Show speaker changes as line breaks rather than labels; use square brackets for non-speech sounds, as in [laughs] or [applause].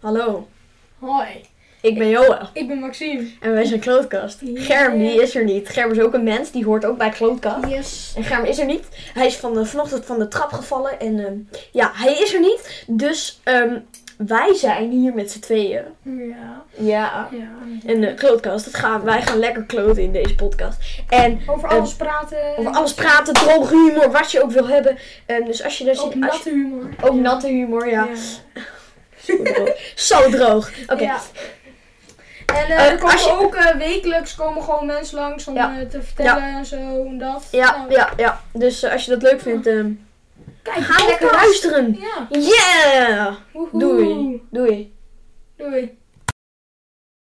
Hallo,
Hoi,
ik ben Joël
ik ben Maxime.
en wij zijn Klootkast.
Ja.
Germ, die is er niet. Germ is ook een mens, die hoort ook bij Klootkast.
Yes.
En Germ is er niet. Hij is van, eh, vanochtend van de trap gevallen en ehm, ja, hij is er niet. Dus ehm, wij zijn hier met z'n tweeën.
Ja.
Ja.
ja.
En eh Klootkast, dat gaan, wij gaan lekker kloten in deze podcast. En
Over
Eh,
alles praten.
over alles praten, droge humor, wat je ook wil hebben. Ehm, dus als je daar zit...
Ook
als je-
natte humor.
Ook natte humor, ja.
Ja.
Zo droog. [laughs] Zo droog. Oké.
Ja. En eh,
Eh,
er komen
als je-
ook eh, wekelijks komen gewoon mensen langs om
Ja.
eh, te vertellen en zo en dat.
Ja,
Nou,
ja, ja. Dus eh, als je dat leuk vindt, ehm,
Kijk,
ga lekker
podcast.
luisteren.
Ja.
Yeah!
Woehoe.
Doei. Doei.
Doei.